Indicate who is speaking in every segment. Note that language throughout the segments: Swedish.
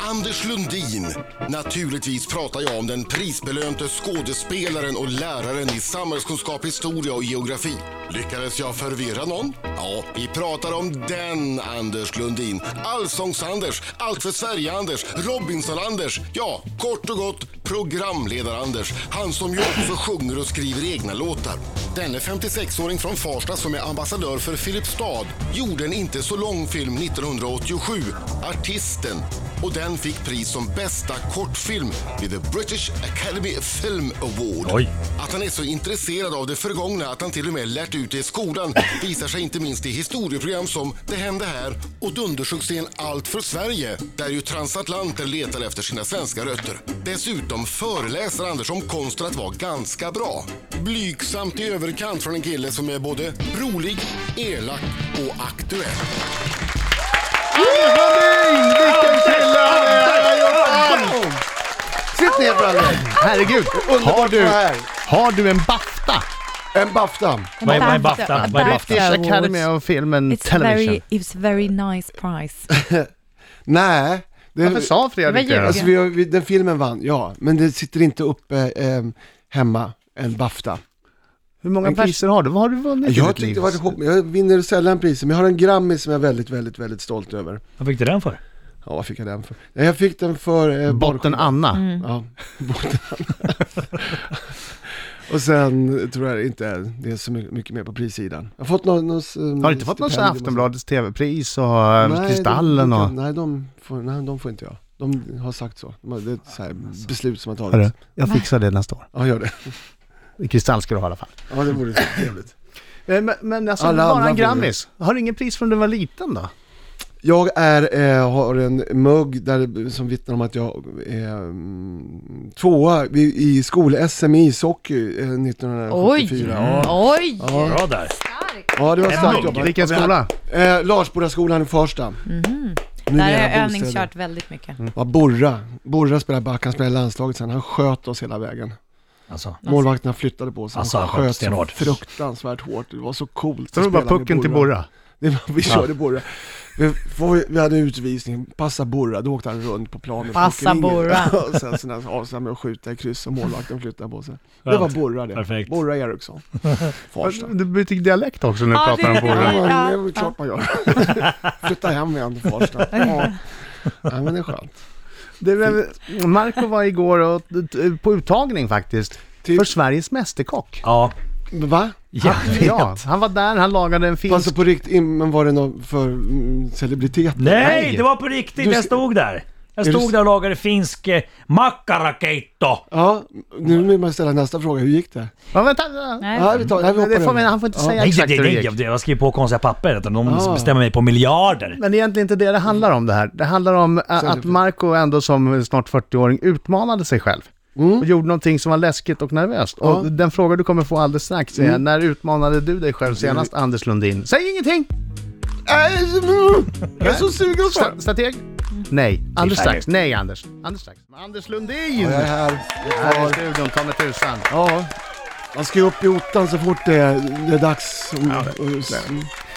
Speaker 1: Anders Lundin. Naturligtvis pratar jag om den prisbelönte skådespelaren och läraren i samhällskunskap, historia och geografi. Lyckades jag förvirra någon? Ja, vi pratar om den Anders Lundin. Allsångs-Anders, Allt för Sverige-Anders, Robinson-Anders. Ja, kort och gott programledar-Anders. Han som ju också sjunger och skriver egna låtar. Denne 56-åring från Farsta som är ambassadör för Filipstad gjorde en inte så lång film 1987, Artisten. Och den fick pris som bästa kortfilm vid The British Academy Film Award.
Speaker 2: Oj.
Speaker 1: Att han är så intresserad av det förgångna att han till och med lärt ut det i skolan visar sig inte minst i historieprogram som Det hände här och dundersuccén Allt för Sverige där ju transatlanter letar efter sina svenska rötter. Dessutom föreläser Anders om konsten att vara ganska bra. Blygsamt i överkant från en kille som är både rolig, elak och aktuell.
Speaker 3: Hamrin! Vilken kille han är! Han har gjort allt! Sitt ner Fralle!
Speaker 4: Herregud!
Speaker 3: Underbart
Speaker 4: Har du,
Speaker 3: att vara här.
Speaker 4: har du en BAFTA?
Speaker 3: En Bafta.
Speaker 2: Vad är- vad är BAFTA? Vad är BAFTA?
Speaker 4: British
Speaker 5: Awards.
Speaker 4: Academy of Film and
Speaker 5: It's very,
Speaker 4: Television.
Speaker 5: it's very nice price.
Speaker 3: Nej. det-
Speaker 4: Varför sa Fredrik
Speaker 5: Det var
Speaker 4: det?
Speaker 5: ljug.
Speaker 3: Alltså, vi, har- vi, den filmen vann, ja. Men det sitter inte uppe eh, hemma, en Bafta.
Speaker 4: Hur många priser har du? Vad har du vunnit
Speaker 3: Jag,
Speaker 4: i
Speaker 3: har
Speaker 4: ditt liv?
Speaker 3: tyckt det varit ihop, jag vinner sällan priser, men jag har en Grammy som jag är väldigt, väldigt, väldigt stolt över.
Speaker 2: Vad fick du den för?
Speaker 3: Ja, vad fick jag den för? Nej, Jag fick den för... Eh,
Speaker 4: Botten
Speaker 3: barnskivan.
Speaker 4: Anna.
Speaker 2: Mm.
Speaker 3: Ja, botten. Och sen tror jag inte det är så mycket mycket mer på prissidan. Jag har fått någon... någon
Speaker 4: Har du inte fått något sånt här Aftonbladets TV-pris och eh,
Speaker 3: Nej,
Speaker 4: Kristallen
Speaker 3: de, de,
Speaker 4: och...
Speaker 3: Nej de, får, nej, de får inte jag. De har sagt så. De har, det är ett så här beslut som har
Speaker 4: Hörru,
Speaker 3: tagits.
Speaker 4: jag fixar det nästa år.
Speaker 3: Ja, gör det.
Speaker 4: I Kristall ska du ha i alla fall.
Speaker 3: Ja, det vore så trevligt.
Speaker 4: Eh, Men, men alltså,
Speaker 3: Alla
Speaker 4: bara
Speaker 3: andra
Speaker 4: en
Speaker 3: får
Speaker 4: Grammis. Har du ingen pris från du var liten då?
Speaker 3: Jag är, eh, har en mugg där, som vittnar om att jag är mm, tvåa i, i skol-SM i ishockey eh, 1974. Ja.
Speaker 5: Oj!
Speaker 3: Mm. Ja.
Speaker 2: Bra där.
Speaker 3: ja, det var
Speaker 2: En
Speaker 3: starkt
Speaker 2: mugg.
Speaker 3: jobbat.
Speaker 4: Vilken skola?
Speaker 3: Eh, Larsbodaskolan i Farsta. Nu
Speaker 5: Mhm. Där har
Speaker 3: är
Speaker 5: jag
Speaker 3: jag Mm.
Speaker 5: övningskört väldigt mycket.
Speaker 3: Ja, Borra. Borra spelade back, han spelade i landslaget sen. Han sköt oss hela vägen.
Speaker 2: Alltså.
Speaker 3: Målvakterna flyttade på sig.
Speaker 2: Alltså, han sköt stenhårt.
Speaker 3: fruktansvärt hårt. Det var så coolt.
Speaker 4: Så
Speaker 3: att
Speaker 4: det var
Speaker 3: spela
Speaker 4: bara
Speaker 3: med
Speaker 4: pucken till Borra.
Speaker 3: Det var, vi körde Borra. Vi, får- vi hade utvisning, passa Borra, då åkte han runt på planen.
Speaker 5: Passa
Speaker 3: pucken in.
Speaker 5: Borra.
Speaker 3: Och sen så avslutade med att skjuta i kryss och målvakten flyttade på sig. Det
Speaker 2: Skönt.
Speaker 3: var Borra det.
Speaker 2: Perfekt.
Speaker 3: Borra Eriksson. Farsta.
Speaker 4: Du byter dialekt också när du
Speaker 5: Ja,
Speaker 4: pratar
Speaker 5: det-
Speaker 4: om Borra.
Speaker 3: Ja,
Speaker 5: Ja,
Speaker 3: det är
Speaker 5: ja.
Speaker 3: väl klart man gör. Flytta hem igen till Farsta. Ja. ja, men det är skönt.
Speaker 4: Du, eh, Marco var igår och, eh, på uttagning faktiskt.
Speaker 3: Till-
Speaker 4: För Sveriges Mästerkock.
Speaker 2: Ja.
Speaker 3: Va?
Speaker 2: Ja.
Speaker 4: Ja, han var där, han lagade en finsk...
Speaker 3: Alltså på riktigt, men var det någon för mm, celebritet?
Speaker 2: Nej, det var på riktigt.
Speaker 3: Du-
Speaker 2: Jag stod där. Jag
Speaker 3: Är du-
Speaker 2: stod där och lagade finsk eh, makkarakeitto.
Speaker 3: Ja, nu vill man ställa nästa fråga, hur gick det?
Speaker 4: Ja, vänta, vänta.
Speaker 5: Nej.
Speaker 3: Ja, vi tar, nej, vi
Speaker 4: Men det
Speaker 3: hoppar
Speaker 4: får vi-
Speaker 3: över.
Speaker 4: han får inte
Speaker 3: Ja.
Speaker 4: säga
Speaker 2: Nej, det,
Speaker 4: exakt
Speaker 2: det,
Speaker 4: hur det
Speaker 2: nej,
Speaker 4: gick.
Speaker 2: jag jag skrev på konstiga papper. utan De
Speaker 3: Ah.
Speaker 2: bestämmer mig på miljarder.
Speaker 4: Men det är egentligen inte det det handlar om det här. Det handlar om ä, att Marco ändå som snart 40-åring utmanade sig själv. Och gjorde någonting som var läskigt och nervöst. Och den fråga du kommer få alldeles strax är, när utmanade du dig själv senast, Anders Lundin? Säg ingenting!
Speaker 3: Nej, mm, Jag är så sugen på
Speaker 4: Sta-
Speaker 3: det.
Speaker 4: Strateg? Nej. Anders
Speaker 2: Tiffany.
Speaker 4: strax. Nej, Anders. Anders strax. Anders Lundin!
Speaker 3: Jag är här.
Speaker 4: Här i studion, ta mig tusan.
Speaker 3: Ja, man ska ju upp i ottan så fort det är, det är dags. Mm. Och, och,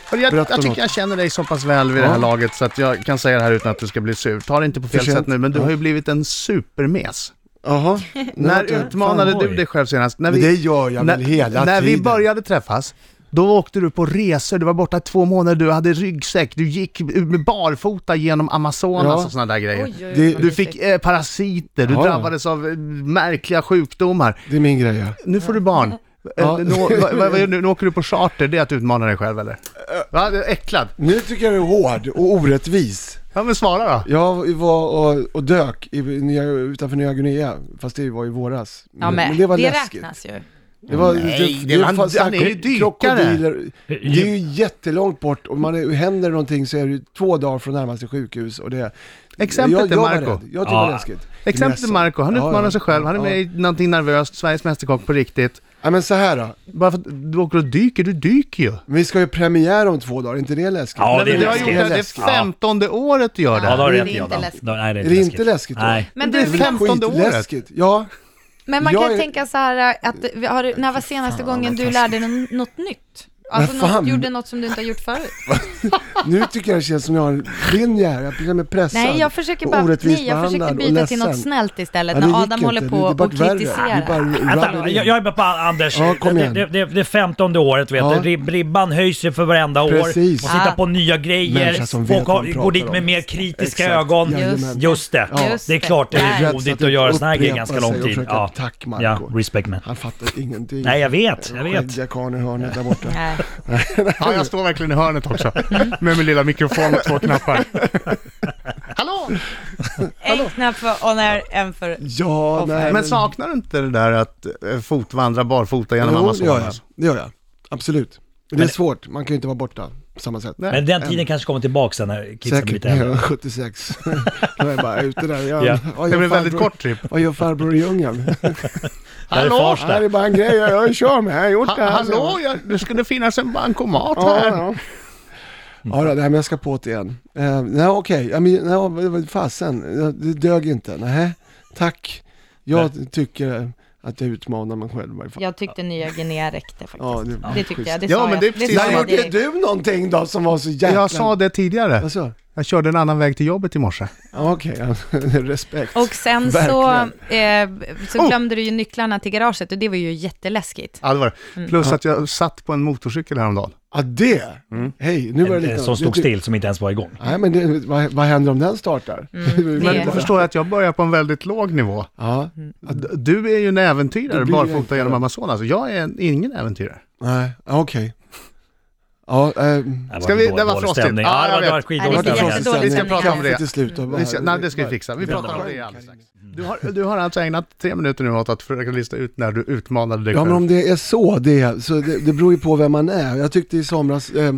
Speaker 4: Hörru, Jag,
Speaker 3: Berätta
Speaker 4: jag tycker
Speaker 3: något.
Speaker 4: jag känner dig så pass väl vid det här laget så att jag kan säga det här utan att du ska bli sur. Ta det inte på fel
Speaker 3: För sent.
Speaker 4: sätt nu, men du
Speaker 3: Ja.
Speaker 4: har ju blivit en supermes.
Speaker 3: Jaha.
Speaker 4: När
Speaker 3: Nej, vänta.
Speaker 4: utmanade
Speaker 2: fan,
Speaker 4: du
Speaker 2: oj.
Speaker 4: dig själv senast? När
Speaker 3: Men det gör jag väl hela
Speaker 4: När vi
Speaker 3: tiden.
Speaker 4: började träffas, då åkte du på resor, du var borta i två månader, du hade ryggsäck, du gick med barfota genom Amazonas
Speaker 3: Ja.
Speaker 4: och sådana där grejer.
Speaker 5: Oj, oj, oj,
Speaker 3: Det-
Speaker 5: oj,
Speaker 4: Du fick eh, parasiter, du
Speaker 3: Ja, ja.
Speaker 4: drabbades av eh, märkliga sjukdomar.
Speaker 3: Det är min grej. ja.
Speaker 4: Nu får du barn.
Speaker 3: Ja.
Speaker 4: Eh, Nu, vad, vad, vad, nu, nu åker du på charter, det är att utmana dig själv eller? Va? Du är äcklad.
Speaker 3: Nu tycker jag du är hård och orättvis.
Speaker 4: Ja men svara då.
Speaker 3: Jag var och, och dök i, nya, utanför Nya Guinea, fast det var i våras.
Speaker 5: Ja, men,
Speaker 3: det var
Speaker 5: det
Speaker 3: läskigt.
Speaker 5: räknas ju.
Speaker 3: Det var,
Speaker 4: Nej, det- han-
Speaker 3: fanns
Speaker 4: han är ju dykare.
Speaker 3: krokodiler. Det är ju jättelångt bort och man är, händer någonting så är det ju två dagar från närmaste sjukhus och det...
Speaker 4: Exemplet
Speaker 3: jag,
Speaker 4: är
Speaker 3: jag var
Speaker 4: Marco.
Speaker 3: rädd. Jag tycker det var
Speaker 2: Ja.
Speaker 3: läskigt.
Speaker 4: Exempel till Marco, han utmanar sig själv, han är med
Speaker 3: i...
Speaker 4: i någonting nervöst, Sveriges Mästerkock på riktigt.
Speaker 3: Ja men så här då,
Speaker 4: Bara för att du åker och dyker, du dyker ju.
Speaker 3: vi ska ju premiär om två dagar, är inte det läskigt?
Speaker 2: Ja, det är
Speaker 4: men du har
Speaker 2: läskigt.
Speaker 4: gjort det, här, det
Speaker 3: läskigt.
Speaker 4: är femtonde året du gör det
Speaker 2: Ja,
Speaker 4: här.
Speaker 2: då har du
Speaker 5: Det är
Speaker 2: rätt
Speaker 5: inte
Speaker 2: Adam.
Speaker 5: läskigt.
Speaker 2: Då- Nej, det är
Speaker 3: Är det inte läskigt? då?
Speaker 2: Nej.
Speaker 5: Men
Speaker 4: Det
Speaker 5: du,
Speaker 4: är
Speaker 3: Det är
Speaker 5: men-
Speaker 3: väl
Speaker 4: 15 året.
Speaker 3: skitläskigt. Ja,
Speaker 5: Men man
Speaker 3: Jag
Speaker 5: kan
Speaker 3: är-
Speaker 5: tänka så här att, vi- har du, när var senaste gången du lärde dig något nytt? Alltså
Speaker 3: Vad fan?
Speaker 5: något, gjorde något som du inte har gjort förut.
Speaker 3: Nu tycker jag det känns som jag har en linje här. Jag blir med pressad.
Speaker 5: Nej, jag försöker
Speaker 3: och
Speaker 5: bara,
Speaker 3: orättvist
Speaker 5: nej, jag försöker
Speaker 3: behandlad och
Speaker 5: byta till något
Speaker 3: ledsen.
Speaker 5: snällt istället
Speaker 3: Ja, det
Speaker 5: när
Speaker 3: gick
Speaker 5: Adam håller
Speaker 3: inte.
Speaker 5: på
Speaker 3: Det- det
Speaker 5: och
Speaker 3: vart värre.
Speaker 5: kritiserar.
Speaker 3: Det bara
Speaker 2: Vänta,
Speaker 3: ramlade in.
Speaker 2: jag, jag är på Anders.
Speaker 3: Ja, kom
Speaker 2: det,
Speaker 3: igen.
Speaker 2: det, det, det är femtonde året vet
Speaker 3: Ja.
Speaker 2: du. Rib- Ribban höjs ju för varenda år.
Speaker 3: Precis.
Speaker 2: Och sitta
Speaker 5: Ah.
Speaker 2: på nya grejer.
Speaker 3: Människa som vet
Speaker 2: Och
Speaker 3: vad
Speaker 2: har,
Speaker 3: de
Speaker 2: går
Speaker 3: pratar
Speaker 2: dit med
Speaker 3: om.
Speaker 2: mer kritiska
Speaker 3: Exakt.
Speaker 2: ögon.
Speaker 3: Jajamän.
Speaker 2: Just det.
Speaker 5: Ja. Just
Speaker 2: Det är
Speaker 5: det.
Speaker 2: klart det
Speaker 5: Nej.
Speaker 2: är
Speaker 3: Rätt så
Speaker 2: modigt
Speaker 3: det
Speaker 2: att göra såna här
Speaker 3: upprepar
Speaker 2: grejer ganska lång
Speaker 3: sig och
Speaker 2: tid.
Speaker 3: försöka,
Speaker 2: Ja.
Speaker 3: Tack Marco.
Speaker 2: ja, respect man.
Speaker 3: Han fattar ingenting.
Speaker 2: Nej jag vet, jag vet.
Speaker 3: Skäggiga karln i hörnet där borta.
Speaker 5: Nej.
Speaker 4: Ja, jag står verkligen i hörnet också. Med min lilla mikrofon och två knappar. Hallå!
Speaker 5: En knapp för on air, en för...
Speaker 3: Ja, nej,
Speaker 4: Men saknar du inte det där att eh, fotvandra barfota genom
Speaker 3: Jo, det gör
Speaker 4: Amazonas?
Speaker 3: jag. Det gör jag. Absolut. Men det är svårt. Man kan ju inte vara borta på samma sätt.
Speaker 4: Nej.
Speaker 2: Men den tiden kanske kommer tillbaka sen när kidsen blir
Speaker 3: Säkert
Speaker 2: lite
Speaker 3: när jag
Speaker 2: äldre.
Speaker 3: var 76. Då är jag bara ute där. Jag,
Speaker 2: Ja.
Speaker 3: vad
Speaker 4: Det
Speaker 3: gör
Speaker 4: blev väldigt
Speaker 3: farbror-
Speaker 4: kort trip.
Speaker 3: Vad gör farbror i djungeln?
Speaker 2: Där är
Speaker 4: Hallå?
Speaker 3: Det här
Speaker 2: Farsta.
Speaker 3: är bara en grej jag, jag kör med. Jag har gjort det
Speaker 4: Ha,
Speaker 3: här.
Speaker 4: hallå, jag, det skulle finnas en bankomat
Speaker 3: Ja,
Speaker 4: här.
Speaker 3: ja. Ja, då, det här med jag ska på det igen. Eh, nej, okej. Ja, men, nej, vad- vad fasen. Ja, Det dög inte. Nej, tack. Jag tycker att jag utmanar mig själv i varje fall.
Speaker 5: Jag tyckte Nya Guinea räckte faktiskt.
Speaker 3: Ja, det
Speaker 5: det,
Speaker 3: var
Speaker 5: tyckte
Speaker 3: schysst.
Speaker 5: jag. Det
Speaker 4: Ja,
Speaker 5: sa
Speaker 4: men
Speaker 5: jag.
Speaker 4: det är precis
Speaker 5: sa
Speaker 3: När
Speaker 4: samma-
Speaker 5: jag
Speaker 3: gjorde
Speaker 5: direkt.
Speaker 3: du någonting då som var så jäkla...
Speaker 4: Jag sa det tidigare.
Speaker 3: Alltså,
Speaker 4: Jag körde en annan väg till jobbet i morse.
Speaker 3: ja, okej. ja, Respekt.
Speaker 5: Och sen så, eh, så
Speaker 4: Oh!
Speaker 5: glömde du ju nycklarna till garaget och det var ju jätteläskigt.
Speaker 4: Ja, det var det. Mm. Plus att jag satt på en motorcykel häromdagen.
Speaker 3: Ja, det.
Speaker 4: Mm.
Speaker 3: Hej, nu var det
Speaker 2: En-
Speaker 3: lite...
Speaker 2: en Som stod
Speaker 3: det-
Speaker 2: still som inte ens var igång.
Speaker 3: Nej, men det, vad, vad händer om den startar?
Speaker 5: Mm, det-
Speaker 4: Men du förstår att jag börjar på en väldigt låg nivå.
Speaker 3: Ja,
Speaker 5: Mm.
Speaker 4: D- Du är ju en äventyrare,
Speaker 3: Det blir jag
Speaker 4: barfota
Speaker 3: inte.
Speaker 4: genom Amazonas. Alltså, Jag är en, ingen äventyrare.
Speaker 3: nej, ja, okej. Ja, ehm,
Speaker 2: Det
Speaker 4: Ska
Speaker 2: var
Speaker 4: vi-
Speaker 2: dålig-
Speaker 4: det var
Speaker 2: dålig
Speaker 4: frostigt.
Speaker 2: stämning.
Speaker 4: Ja,
Speaker 2: Ja, det var-
Speaker 4: jag
Speaker 2: det var
Speaker 4: vet.
Speaker 5: Nej,
Speaker 2: skitdålig
Speaker 5: det är
Speaker 2: stämning.
Speaker 5: jättedåligt.
Speaker 3: vi ska
Speaker 5: stämning.
Speaker 3: prata om det.
Speaker 4: Kaffe
Speaker 3: till slut. och bara-
Speaker 4: Vi ska, nej, det ska vi fixa. Vi pratar om det alldeles strax. Du har, du har alltså ägnat tre minuter nu åt att försöka lista ut när du utmanade dig
Speaker 3: Ja men
Speaker 4: själv.
Speaker 3: om det är så det, så det, det beror ju på vem man är. Jag tyckte i somras, eh,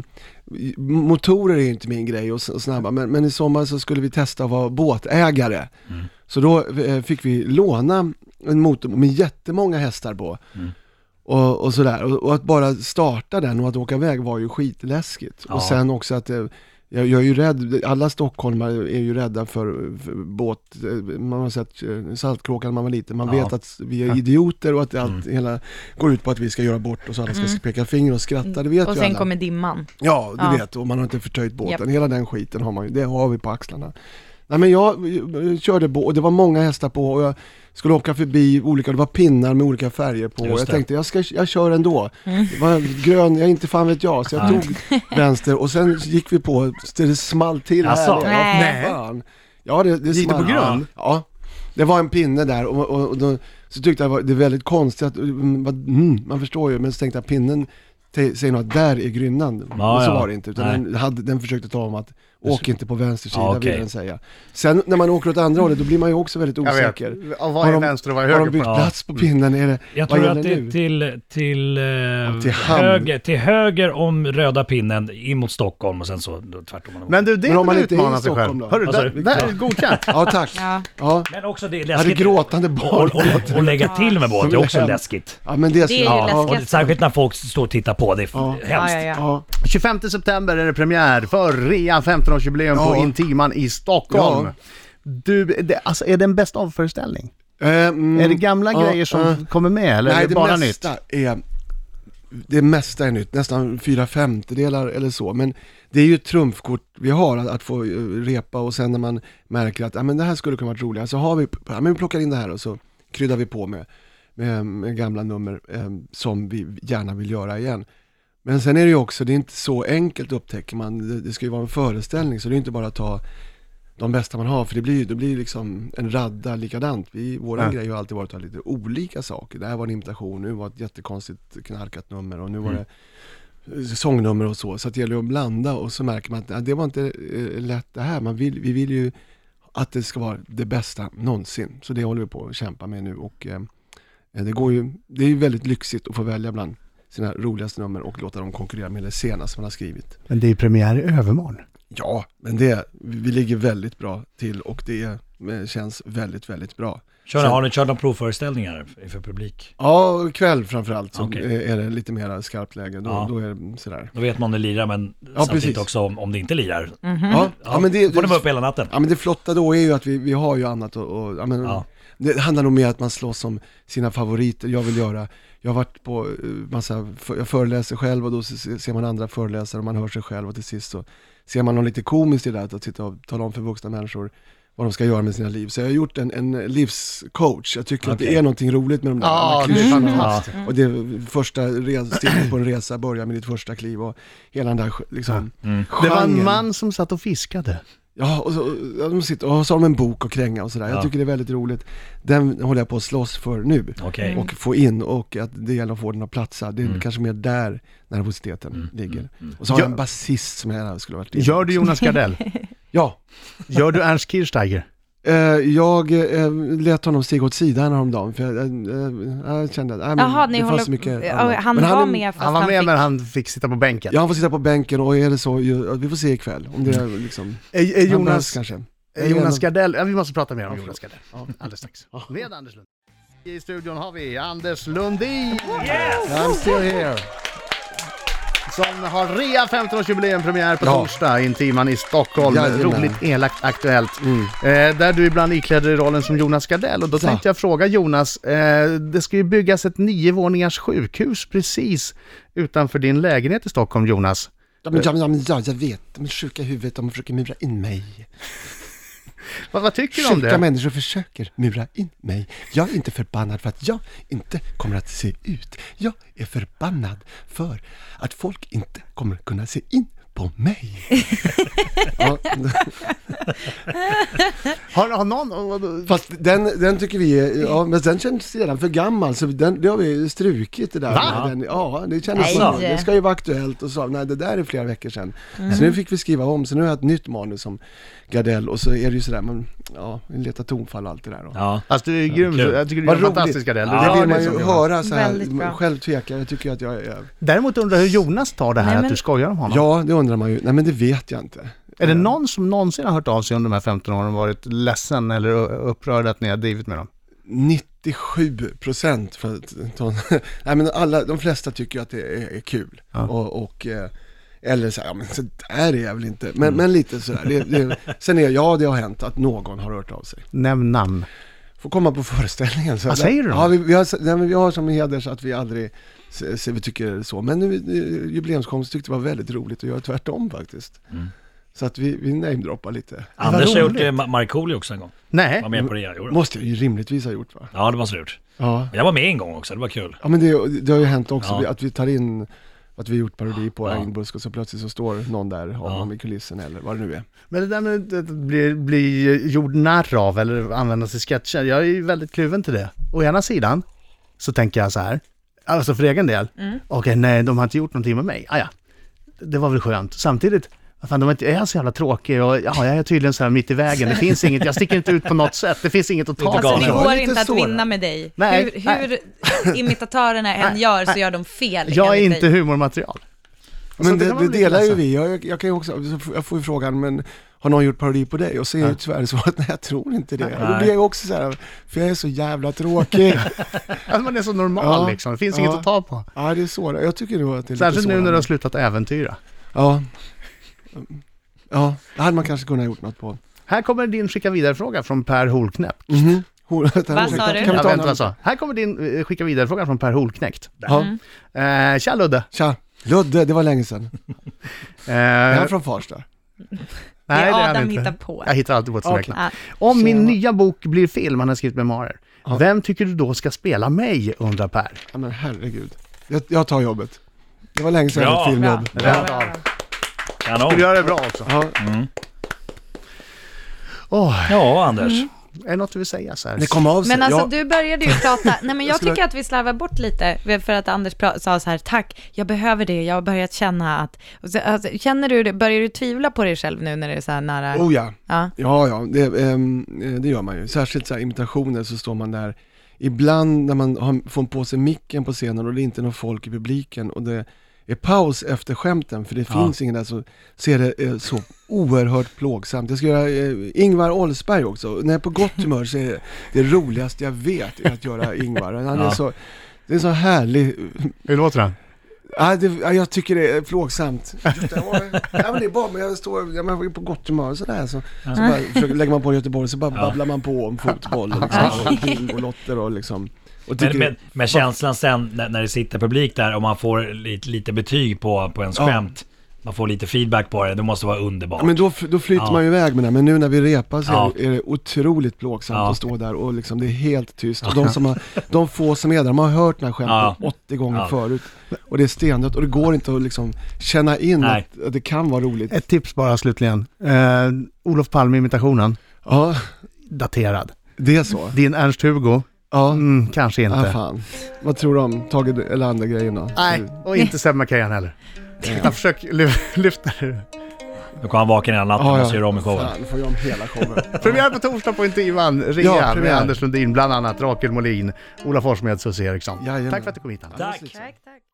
Speaker 3: motorer är ju inte min grej och s- och snabba, men, men i sommar så skulle vi testa att vara båtägare. Så då eh, fick vi låna en motor med jättemånga hästar på. Och, och sådär, och, och att bara starta den och att åka iväg var ju skitläskigt.
Speaker 2: Ja.
Speaker 3: Och sen också att eh, jag, jag är ju rädd, alla stockholmare är ju rädda för, för båt, eh, man har sett eh, Saltkråkan när man var liten, man
Speaker 2: Ja.
Speaker 3: vet att vi är idioter och att allt hela går ut på att vi ska göra bort och så alla ska peka finger och skratta, det vet
Speaker 5: Mm. Och
Speaker 3: ju
Speaker 5: sen
Speaker 3: alla.
Speaker 5: kommer dimman.
Speaker 3: Ja, du
Speaker 5: Ja.
Speaker 3: vet, och man har inte förtöjt båten,
Speaker 5: Japp.
Speaker 3: hela den skiten har man ju, det har vi på axlarna. Nej men jag eh, körde båt och det var många hästar på och jag skulle åka förbi olika, det var pinnar med olika färger på
Speaker 2: Just
Speaker 3: och jag
Speaker 2: det.
Speaker 3: tänkte jag, ska, jag kör ändå.
Speaker 5: Mm.
Speaker 3: Det var grön, jag inte fan vet jag, så jag
Speaker 2: Nej.
Speaker 3: tog vänster och sen gick vi på, så det small till
Speaker 2: Jaså?
Speaker 3: här.
Speaker 5: Nej.
Speaker 3: Ja, fan. ja det, det
Speaker 4: Gick det
Speaker 3: small.
Speaker 4: på grön?
Speaker 3: Ja. Det var en pinne där och, och, och då, så tyckte jag det var- det var väldigt konstigt att, mm, vad- mm, man förstår ju, men så tänkte jag pinnen te- säger nog att där är grynnan.
Speaker 2: Ja,
Speaker 3: men så
Speaker 2: ja.
Speaker 3: var det inte, utan
Speaker 2: Nej.
Speaker 3: den, hade, den försökte ta om att åk inte på vänster sida
Speaker 2: Ja, okej.
Speaker 3: vill den säga. Sen när man åker åt andra hållet, då blir man ju också väldigt
Speaker 4: Jag vet.
Speaker 3: osäker.
Speaker 4: Ja, vad är
Speaker 3: Har de-
Speaker 4: vänster och vad är
Speaker 3: Har
Speaker 4: höger
Speaker 3: de
Speaker 4: på
Speaker 3: bytt
Speaker 4: den?
Speaker 2: Ja.
Speaker 3: plats på pinnen? Är det,
Speaker 2: Mm. Jag
Speaker 3: vad
Speaker 2: tror
Speaker 3: gäller
Speaker 2: att det
Speaker 3: nu?
Speaker 2: är till, till, eh,
Speaker 3: till hamn.
Speaker 2: höger, till höger om röda pinnen in mot Stockholm och sen så då, tvärtom.
Speaker 4: Men du, det
Speaker 3: Men
Speaker 4: är
Speaker 3: om
Speaker 4: väl
Speaker 3: man inte är i
Speaker 4: utmana sig
Speaker 3: Stockholm
Speaker 4: själv?
Speaker 3: då?
Speaker 4: Hörru,
Speaker 2: Vad sa
Speaker 4: där,
Speaker 2: du?
Speaker 4: där, godkänt.
Speaker 3: Ja tack.
Speaker 5: Ja.
Speaker 3: Ja.
Speaker 2: Men också det är
Speaker 3: Jag hade
Speaker 2: läskigt.
Speaker 3: gråtande
Speaker 2: Och,
Speaker 3: barn.
Speaker 2: och, och lägga till med båt är också läskigt.
Speaker 3: Ja men det,
Speaker 5: Det är ju
Speaker 2: Och
Speaker 5: läskigt.
Speaker 2: särskilt när folk står och tittar på, det är
Speaker 3: Ja.
Speaker 5: Ja,
Speaker 2: hemskt.
Speaker 5: ja, ja.
Speaker 3: Ja,
Speaker 4: 25 september är det premiär för Rea 15-årsjubileum på
Speaker 3: Ja.
Speaker 4: Intiman i Stockholm.
Speaker 3: Ja.
Speaker 4: Du, det, alltså är det en bäst av-föreställning?
Speaker 3: ja. Ehm,
Speaker 4: Är det gamla
Speaker 3: ja,
Speaker 4: grejer som
Speaker 3: ja.
Speaker 4: kommer med eller är eh. det bara nytt?
Speaker 3: mesta Är, det mesta är nytt, nästan fyra femtedelar eller så. Men det är ju ett trumfkort vi har att, att få eh, repa och sen när man märker att ah, men det här skulle kunna varit roligare så har vi, ah, men vi plockar in det här och så kryddar vi på med, med, med gamla nummer eh, som vi gärna vill göra igen. Men sen är det ju också, det är inte så enkelt upptäcker man, det, det ska ju vara en föreställning så det är inte bara att ta de bästa man har, för det blir ju det blir ju liksom en radda likadant. Vi, våran
Speaker 4: Ja.
Speaker 3: grej har alltid varit att ha lite olika saker. Det här var en imitation, nu var det ett jättekonstigt knarkat nummer och nu var det eh, sångnummer och så. Så att det gäller ju att blanda och så märker man att nej, det var inte eh, lätt det här. Man vill, vi vill ju att det ska vara det bästa någonsin. Så det håller vi på att kämpa med nu och eh, det går ju, det är ju väldigt lyxigt att få välja bland sina roligaste nummer och låta dem konkurrera med det senaste man har skrivit.
Speaker 4: Men det är premiär i övermorgon.
Speaker 3: Ja, men det, vi ligger väldigt bra till och det är eh, känns väldigt, väldigt bra.
Speaker 2: Kör,
Speaker 3: Sen-
Speaker 2: har ni kört några provföreställningar inför publik?
Speaker 3: Ja, kväll framförallt så
Speaker 2: Okej.
Speaker 3: eh, är det lite mera skarpt läge. Då,
Speaker 2: Ja.
Speaker 3: då är det sådär.
Speaker 2: Då vet man om det lirar, men samtidigt
Speaker 3: precis.
Speaker 2: också om, om det inte lirar.
Speaker 5: Mm.
Speaker 3: Ja, ja, men det,
Speaker 2: Mhm. får ni
Speaker 3: det,
Speaker 2: vara uppe hela natten.
Speaker 3: ja, men det flotta då är ju att vi, vi har ju annat och, och ja, men,
Speaker 2: Ja.
Speaker 3: Det handlar nog mer att man slåss om sina favoriter. Jag vill göra, jag har varit på eh, massa, för- jag föreläser själv och då se- ser man andra föreläsare och man hör sig själv och till sist så ser man något lite komiskt i det här, att sitta och tala om för vuxna människor vad de ska göra med sina liv. Så jag har gjort en, en livscoach. Jag tycker att det
Speaker 2: Okej.
Speaker 3: är någonting roligt med de där alla
Speaker 4: Ja, det är
Speaker 3: klyschorna.
Speaker 4: fantastiskt.
Speaker 3: Och det första res- steget på en resa, börja med ditt första kliv och hela den där liksom,
Speaker 2: Mm.
Speaker 4: Det var en
Speaker 3: genren.
Speaker 4: man som satt och fiskade.
Speaker 3: Ja, och så, ja, de sitter, och så har de en bok och kränga och sådär.
Speaker 2: Ja.
Speaker 3: Jag tycker det är väldigt roligt. Den håller jag på att slåss för nu.
Speaker 2: Okej. Mm.
Speaker 3: Och få in och att det gäller att få den att platsa. Det är kanske mer där nervositeten ligger. Och så har jag
Speaker 4: Ja.
Speaker 3: en basist som jag gärna skulle ha varit in.
Speaker 4: Gör du Jonas Gardell?
Speaker 3: Ja.
Speaker 4: Gör du Ernst Kirchsteiger?
Speaker 3: Eh, jag eh, lät honom stiga åt sidan häromdagen för jag, eh, eh, jag kände att nej, men
Speaker 5: Jaha, ni
Speaker 3: det
Speaker 5: håller...
Speaker 3: fanns så mycket
Speaker 5: Ja,
Speaker 3: annat.
Speaker 5: han
Speaker 3: Men
Speaker 5: var
Speaker 3: är-
Speaker 5: med fast
Speaker 4: Han var med
Speaker 5: fick...
Speaker 4: men han fick sitta på bänken.
Speaker 3: Ja, han får sitta på bänken och är det så, ju, vi får se ikväll om det är
Speaker 2: Mm.
Speaker 3: liksom...
Speaker 4: Eh, eh,
Speaker 3: han behövs
Speaker 4: Jonas,
Speaker 3: kanske.
Speaker 4: eh, Jonas Gardell, ja, vi måste prata mer om Jonas Gardell. Alldeles strax. Med Anders Lundin. I studion har vi Anders Lundin.
Speaker 3: I'm still here.
Speaker 4: Som har rea 15-årsjubileum, premiär på
Speaker 3: Ja.
Speaker 4: torsdag, Intiman i Stockholm.
Speaker 3: Jajamän. Mm.
Speaker 4: Roligt, elakt, aktuellt. Eh, där du ibland ikläder dig rollen som Jonas Gardell. Och då
Speaker 3: Ja.
Speaker 4: tänkte jag fråga Jonas, eh, det ska ju byggas ett niovåningars sjukhus precis utanför din lägenhet i Stockholm, Jonas.
Speaker 3: Ja, men, ja, men, ja, men, ja, jag vet. De är sjuka i huvudet, de försöker mura in mig.
Speaker 4: Vad, vad tycker du om
Speaker 3: Sjuka
Speaker 4: det?
Speaker 3: människor försöker mura in mig. Jag är inte förbannad för att jag inte kommer att se ut. Jag är förbannad för att folk inte kommer att kunna se in på mig. ja,
Speaker 4: Har, har någon...
Speaker 3: fast den, den tycker vi är, ja,
Speaker 5: Mm.
Speaker 3: men den känns redan för gammal så den, det har vi strukit det där.
Speaker 4: Va?
Speaker 3: med Den, ja, det kändes
Speaker 5: Nej. Mm.
Speaker 3: som, det ska ju vara aktuellt och så, nej det där är flera veckor sedan. Så nu fick vi skriva om, så nu har jag ett nytt manus som Gardell och så är det ju sådär, man, ja, letar tonfall och allt det där. Och.
Speaker 2: Ja.
Speaker 4: Alltså du är grym,
Speaker 2: kul.
Speaker 4: jag tycker du är
Speaker 3: Vad
Speaker 4: en
Speaker 3: roligt.
Speaker 4: fantastisk Gardell. Du
Speaker 2: Ja,
Speaker 4: gör
Speaker 3: det vill
Speaker 4: det
Speaker 3: man
Speaker 4: som
Speaker 3: ju
Speaker 4: Jonas.
Speaker 3: höra så
Speaker 5: Väldigt bra.
Speaker 3: här. Själv tvekar jag, tycker att jag är...
Speaker 4: Däremot undrar jag hur Jonas tar det här
Speaker 5: Nej,
Speaker 4: att
Speaker 5: men-
Speaker 4: du skojar om honom.
Speaker 3: Ja, det undrar man ju. Nej men det vet jag inte.
Speaker 4: Är det någon som någonsin har hört av sig under de här 15 åren och varit ledsen eller upprörd att ni har drivit med dem?
Speaker 3: 97 procent för att ta Nej men alla, de flesta tycker ju att det är, är kul. Och, och eh, eller så här, ja, men så där är jag väl inte.
Speaker 4: Mm.
Speaker 3: Men, men lite sådär. Det, det, sen är ja, det har hänt att någon har hört av sig.
Speaker 4: Nämn namn.
Speaker 3: Får komma på föreställningen. Så
Speaker 4: Vad
Speaker 3: där-
Speaker 4: säger du då?
Speaker 3: Ja, vi, vi, har, nej, men vi har som heders att vi aldrig, se, se, vi tycker så. Men nu, eh, jubileumskomst tyckte det var väldigt roligt att göra tvärtom faktiskt.
Speaker 4: Mm.
Speaker 3: Så att vi, vi namedroppar lite.
Speaker 2: Anders
Speaker 4: roligt.
Speaker 2: har gjort eh, Ma- Markoolio också en gång.
Speaker 4: Nej,
Speaker 2: Var med på det jag gjorde.
Speaker 3: Måste jag ju rimligtvis ha gjort va?
Speaker 2: Ja, det måste du ha gjort.
Speaker 3: Ja.
Speaker 2: Jag var med en gång också, det var kul.
Speaker 3: Ja men det, det har ju hänt också,
Speaker 2: Ja.
Speaker 3: vi- att vi tar in, att vi har gjort parodi på
Speaker 2: Ja.
Speaker 3: Engbusk och så plötsligt så står någon där av
Speaker 2: Ja.
Speaker 3: honom i kulissen eller vad det nu är.
Speaker 4: men det där med att bli, bli gjord narr av eller användas i sketcher, jag är ju väldigt kluven till det. Å ena sidan så tänker jag så här, alltså för egen del, okej nej de har inte gjort någonting med mig, ah, ja. det var väl skönt. Samtidigt, vad fan, de är, inte, är jag så jävla tråkig och ja, jag är tydligen så här mitt i vägen, det finns inget, jag sticker inte ut på något sätt, det finns inget att ta
Speaker 2: Inte
Speaker 5: Alltså
Speaker 2: galen.
Speaker 4: på.
Speaker 5: det
Speaker 2: Ja,
Speaker 5: går
Speaker 3: lite
Speaker 5: inte att
Speaker 3: så då.
Speaker 5: vinna med dig.
Speaker 4: Nej,
Speaker 5: hur hur imitatörerna än
Speaker 4: Nej,
Speaker 5: gör så gör de fel
Speaker 4: Jag är
Speaker 5: enligt
Speaker 4: inte
Speaker 5: dig.
Speaker 4: humormaterial.
Speaker 3: Men
Speaker 4: Alltså, det
Speaker 3: det,
Speaker 4: kan
Speaker 3: det
Speaker 4: man bli
Speaker 3: delar ju
Speaker 4: ledsen.
Speaker 3: vi, jag, jag- jag kan ju också, så f- jag får ju frågan, men har någon gjort parodi på dig? Och så är det ju tyvärr så att nej jag tror inte det. Och då blir jag ju också så här, för jag är så jävla tråkig.
Speaker 4: Att Alltså, man är så normal
Speaker 3: Ja,
Speaker 4: liksom, det finns
Speaker 3: ja.
Speaker 4: inget att ta på.
Speaker 3: ja det är så, jag tycker nog att det är
Speaker 4: Särskilt
Speaker 3: lite
Speaker 4: nu när du har
Speaker 3: sådant.
Speaker 4: slutat äventyra.
Speaker 3: Ja. Ja, det hade man kanske kunnat gjort något på.
Speaker 4: Här kommer din skicka vidare-fråga från Per Holknäpp.
Speaker 3: Mhm. Hon- vänta,
Speaker 5: Vad
Speaker 3: ursäkta,
Speaker 5: sa du?
Speaker 3: Kan vi
Speaker 4: Ja,
Speaker 3: ta
Speaker 4: vänta,
Speaker 3: en
Speaker 4: alltså. Här kommer din eh, skicka vidare-fråga från Per Holknekt.
Speaker 3: Ja,
Speaker 5: Mm.
Speaker 4: Eh, tja Ludde!
Speaker 3: tja. Ludde, det var länge sedan.
Speaker 4: Eh,
Speaker 3: Är
Speaker 4: nej,
Speaker 3: han från Farsta?
Speaker 5: Det är
Speaker 4: han
Speaker 5: Adam
Speaker 4: inte.
Speaker 5: hittar på.
Speaker 4: Jag hittar alltid på ett som
Speaker 3: Okej.
Speaker 4: räknas.
Speaker 5: Ja.
Speaker 4: Om min
Speaker 3: Tjena.
Speaker 4: nya bok blir film, han har skrivit memoarer, vem tycker du då ska spela mig, undrar Per.
Speaker 3: Ja men herregud. Jag, jag tar jobbet. Det var länge sedan jag
Speaker 2: Bra.
Speaker 3: fick
Speaker 5: Bra.
Speaker 3: filmjobb.
Speaker 5: Bra, bra,
Speaker 4: Rätt
Speaker 5: bra.
Speaker 2: Kanon.
Speaker 4: Du gör det bra också.
Speaker 3: Ja,
Speaker 4: Mm. Åh,
Speaker 2: Ja, Anders.
Speaker 4: är det något du vill säga så här?
Speaker 3: det kom av sig.
Speaker 5: Men alltså
Speaker 3: jag,
Speaker 5: du började ju prata, nej men jag,
Speaker 3: skulle-
Speaker 5: tycker att vi slarvar bort lite för att Anders pra- sa så här, tack, jag behöver det, jag har börjat känna att, och så- alltså, känner du det, börjar du tvivla på dig själv nu när det är så här nära?
Speaker 3: Oh ja.
Speaker 5: Ja.
Speaker 3: Ja, ja, det, ehm, eh, det gör man ju. Särskilt så här imitationer så står man där. Ibland när man har, får på sig micken på scenen och det är inte någon folk i publiken och det är paus efter skämten, för det finns ingen där, så ser det eh, så oerhört plågsamt. Jag ska göra eh, Ingvar Oldsberg också. När jag är på gott humör så är det, det roligaste jag vet är att göra Ingvar. Han är
Speaker 2: Ja.
Speaker 3: så, det är en så härlig...
Speaker 4: Hur låter den?
Speaker 3: Ja, det, ja, jag tycker det är plågsamt. Ja, men det är bara, men jag står ja, men jag är på gott humör och sådär. Så, så bara, försöker, lägger man på Göteborg så bara babblar man på om fotboll och, liksom, och Bill och Lotter och liksom. Och tycker,
Speaker 2: Men, men, men känslan sen när, när det sitter publik där och man får lite, lite betyg på, på ens
Speaker 3: Ja.
Speaker 2: skämt, man får lite feedback på det, det måste vara underbart.
Speaker 3: Ja, men då, då flyter
Speaker 2: Ja.
Speaker 3: man ju iväg med det, men nu när vi repar så
Speaker 2: Ja.
Speaker 3: är, det, är det otroligt plågsamt
Speaker 2: Ja.
Speaker 3: att stå där och liksom, det är helt tyst. Och de, som har, de få som är där, de har hört den här skämten
Speaker 2: Ja.
Speaker 3: 80 gånger
Speaker 2: Ja.
Speaker 3: förut. Och det är stendött och det går inte att liksom känna in
Speaker 2: Nej.
Speaker 3: att, att det kan vara roligt.
Speaker 4: Ett tips bara slutligen. Eh, Olof Palme-imitationen,
Speaker 3: Ja,
Speaker 4: daterad.
Speaker 3: det är så.
Speaker 4: Din Ernst-Hugo,
Speaker 3: Ja.
Speaker 4: mm, kanske
Speaker 3: Ah,
Speaker 4: inte.
Speaker 3: fan. Vad tror du om Tage Erlander-grejen då?
Speaker 4: Nej, Mm. och inte Seb McKayan heller. Jag försöker ly- lyfta det.
Speaker 2: Då kommer han vaken hela natten och måste göra om i showen.
Speaker 3: Ah, Fan, får jag om hela showen.
Speaker 4: Premiär på torsdag på Intervjuan,
Speaker 3: Ja,
Speaker 4: Rea, med
Speaker 3: premiär.
Speaker 4: Anders Lundin, bland annat Rakel Molin, Ola Forssmed, Susie Eriksson.
Speaker 3: Jajamän.
Speaker 4: Tack för att du kom hit, Hanna.
Speaker 2: Tack!
Speaker 5: Tack, tack.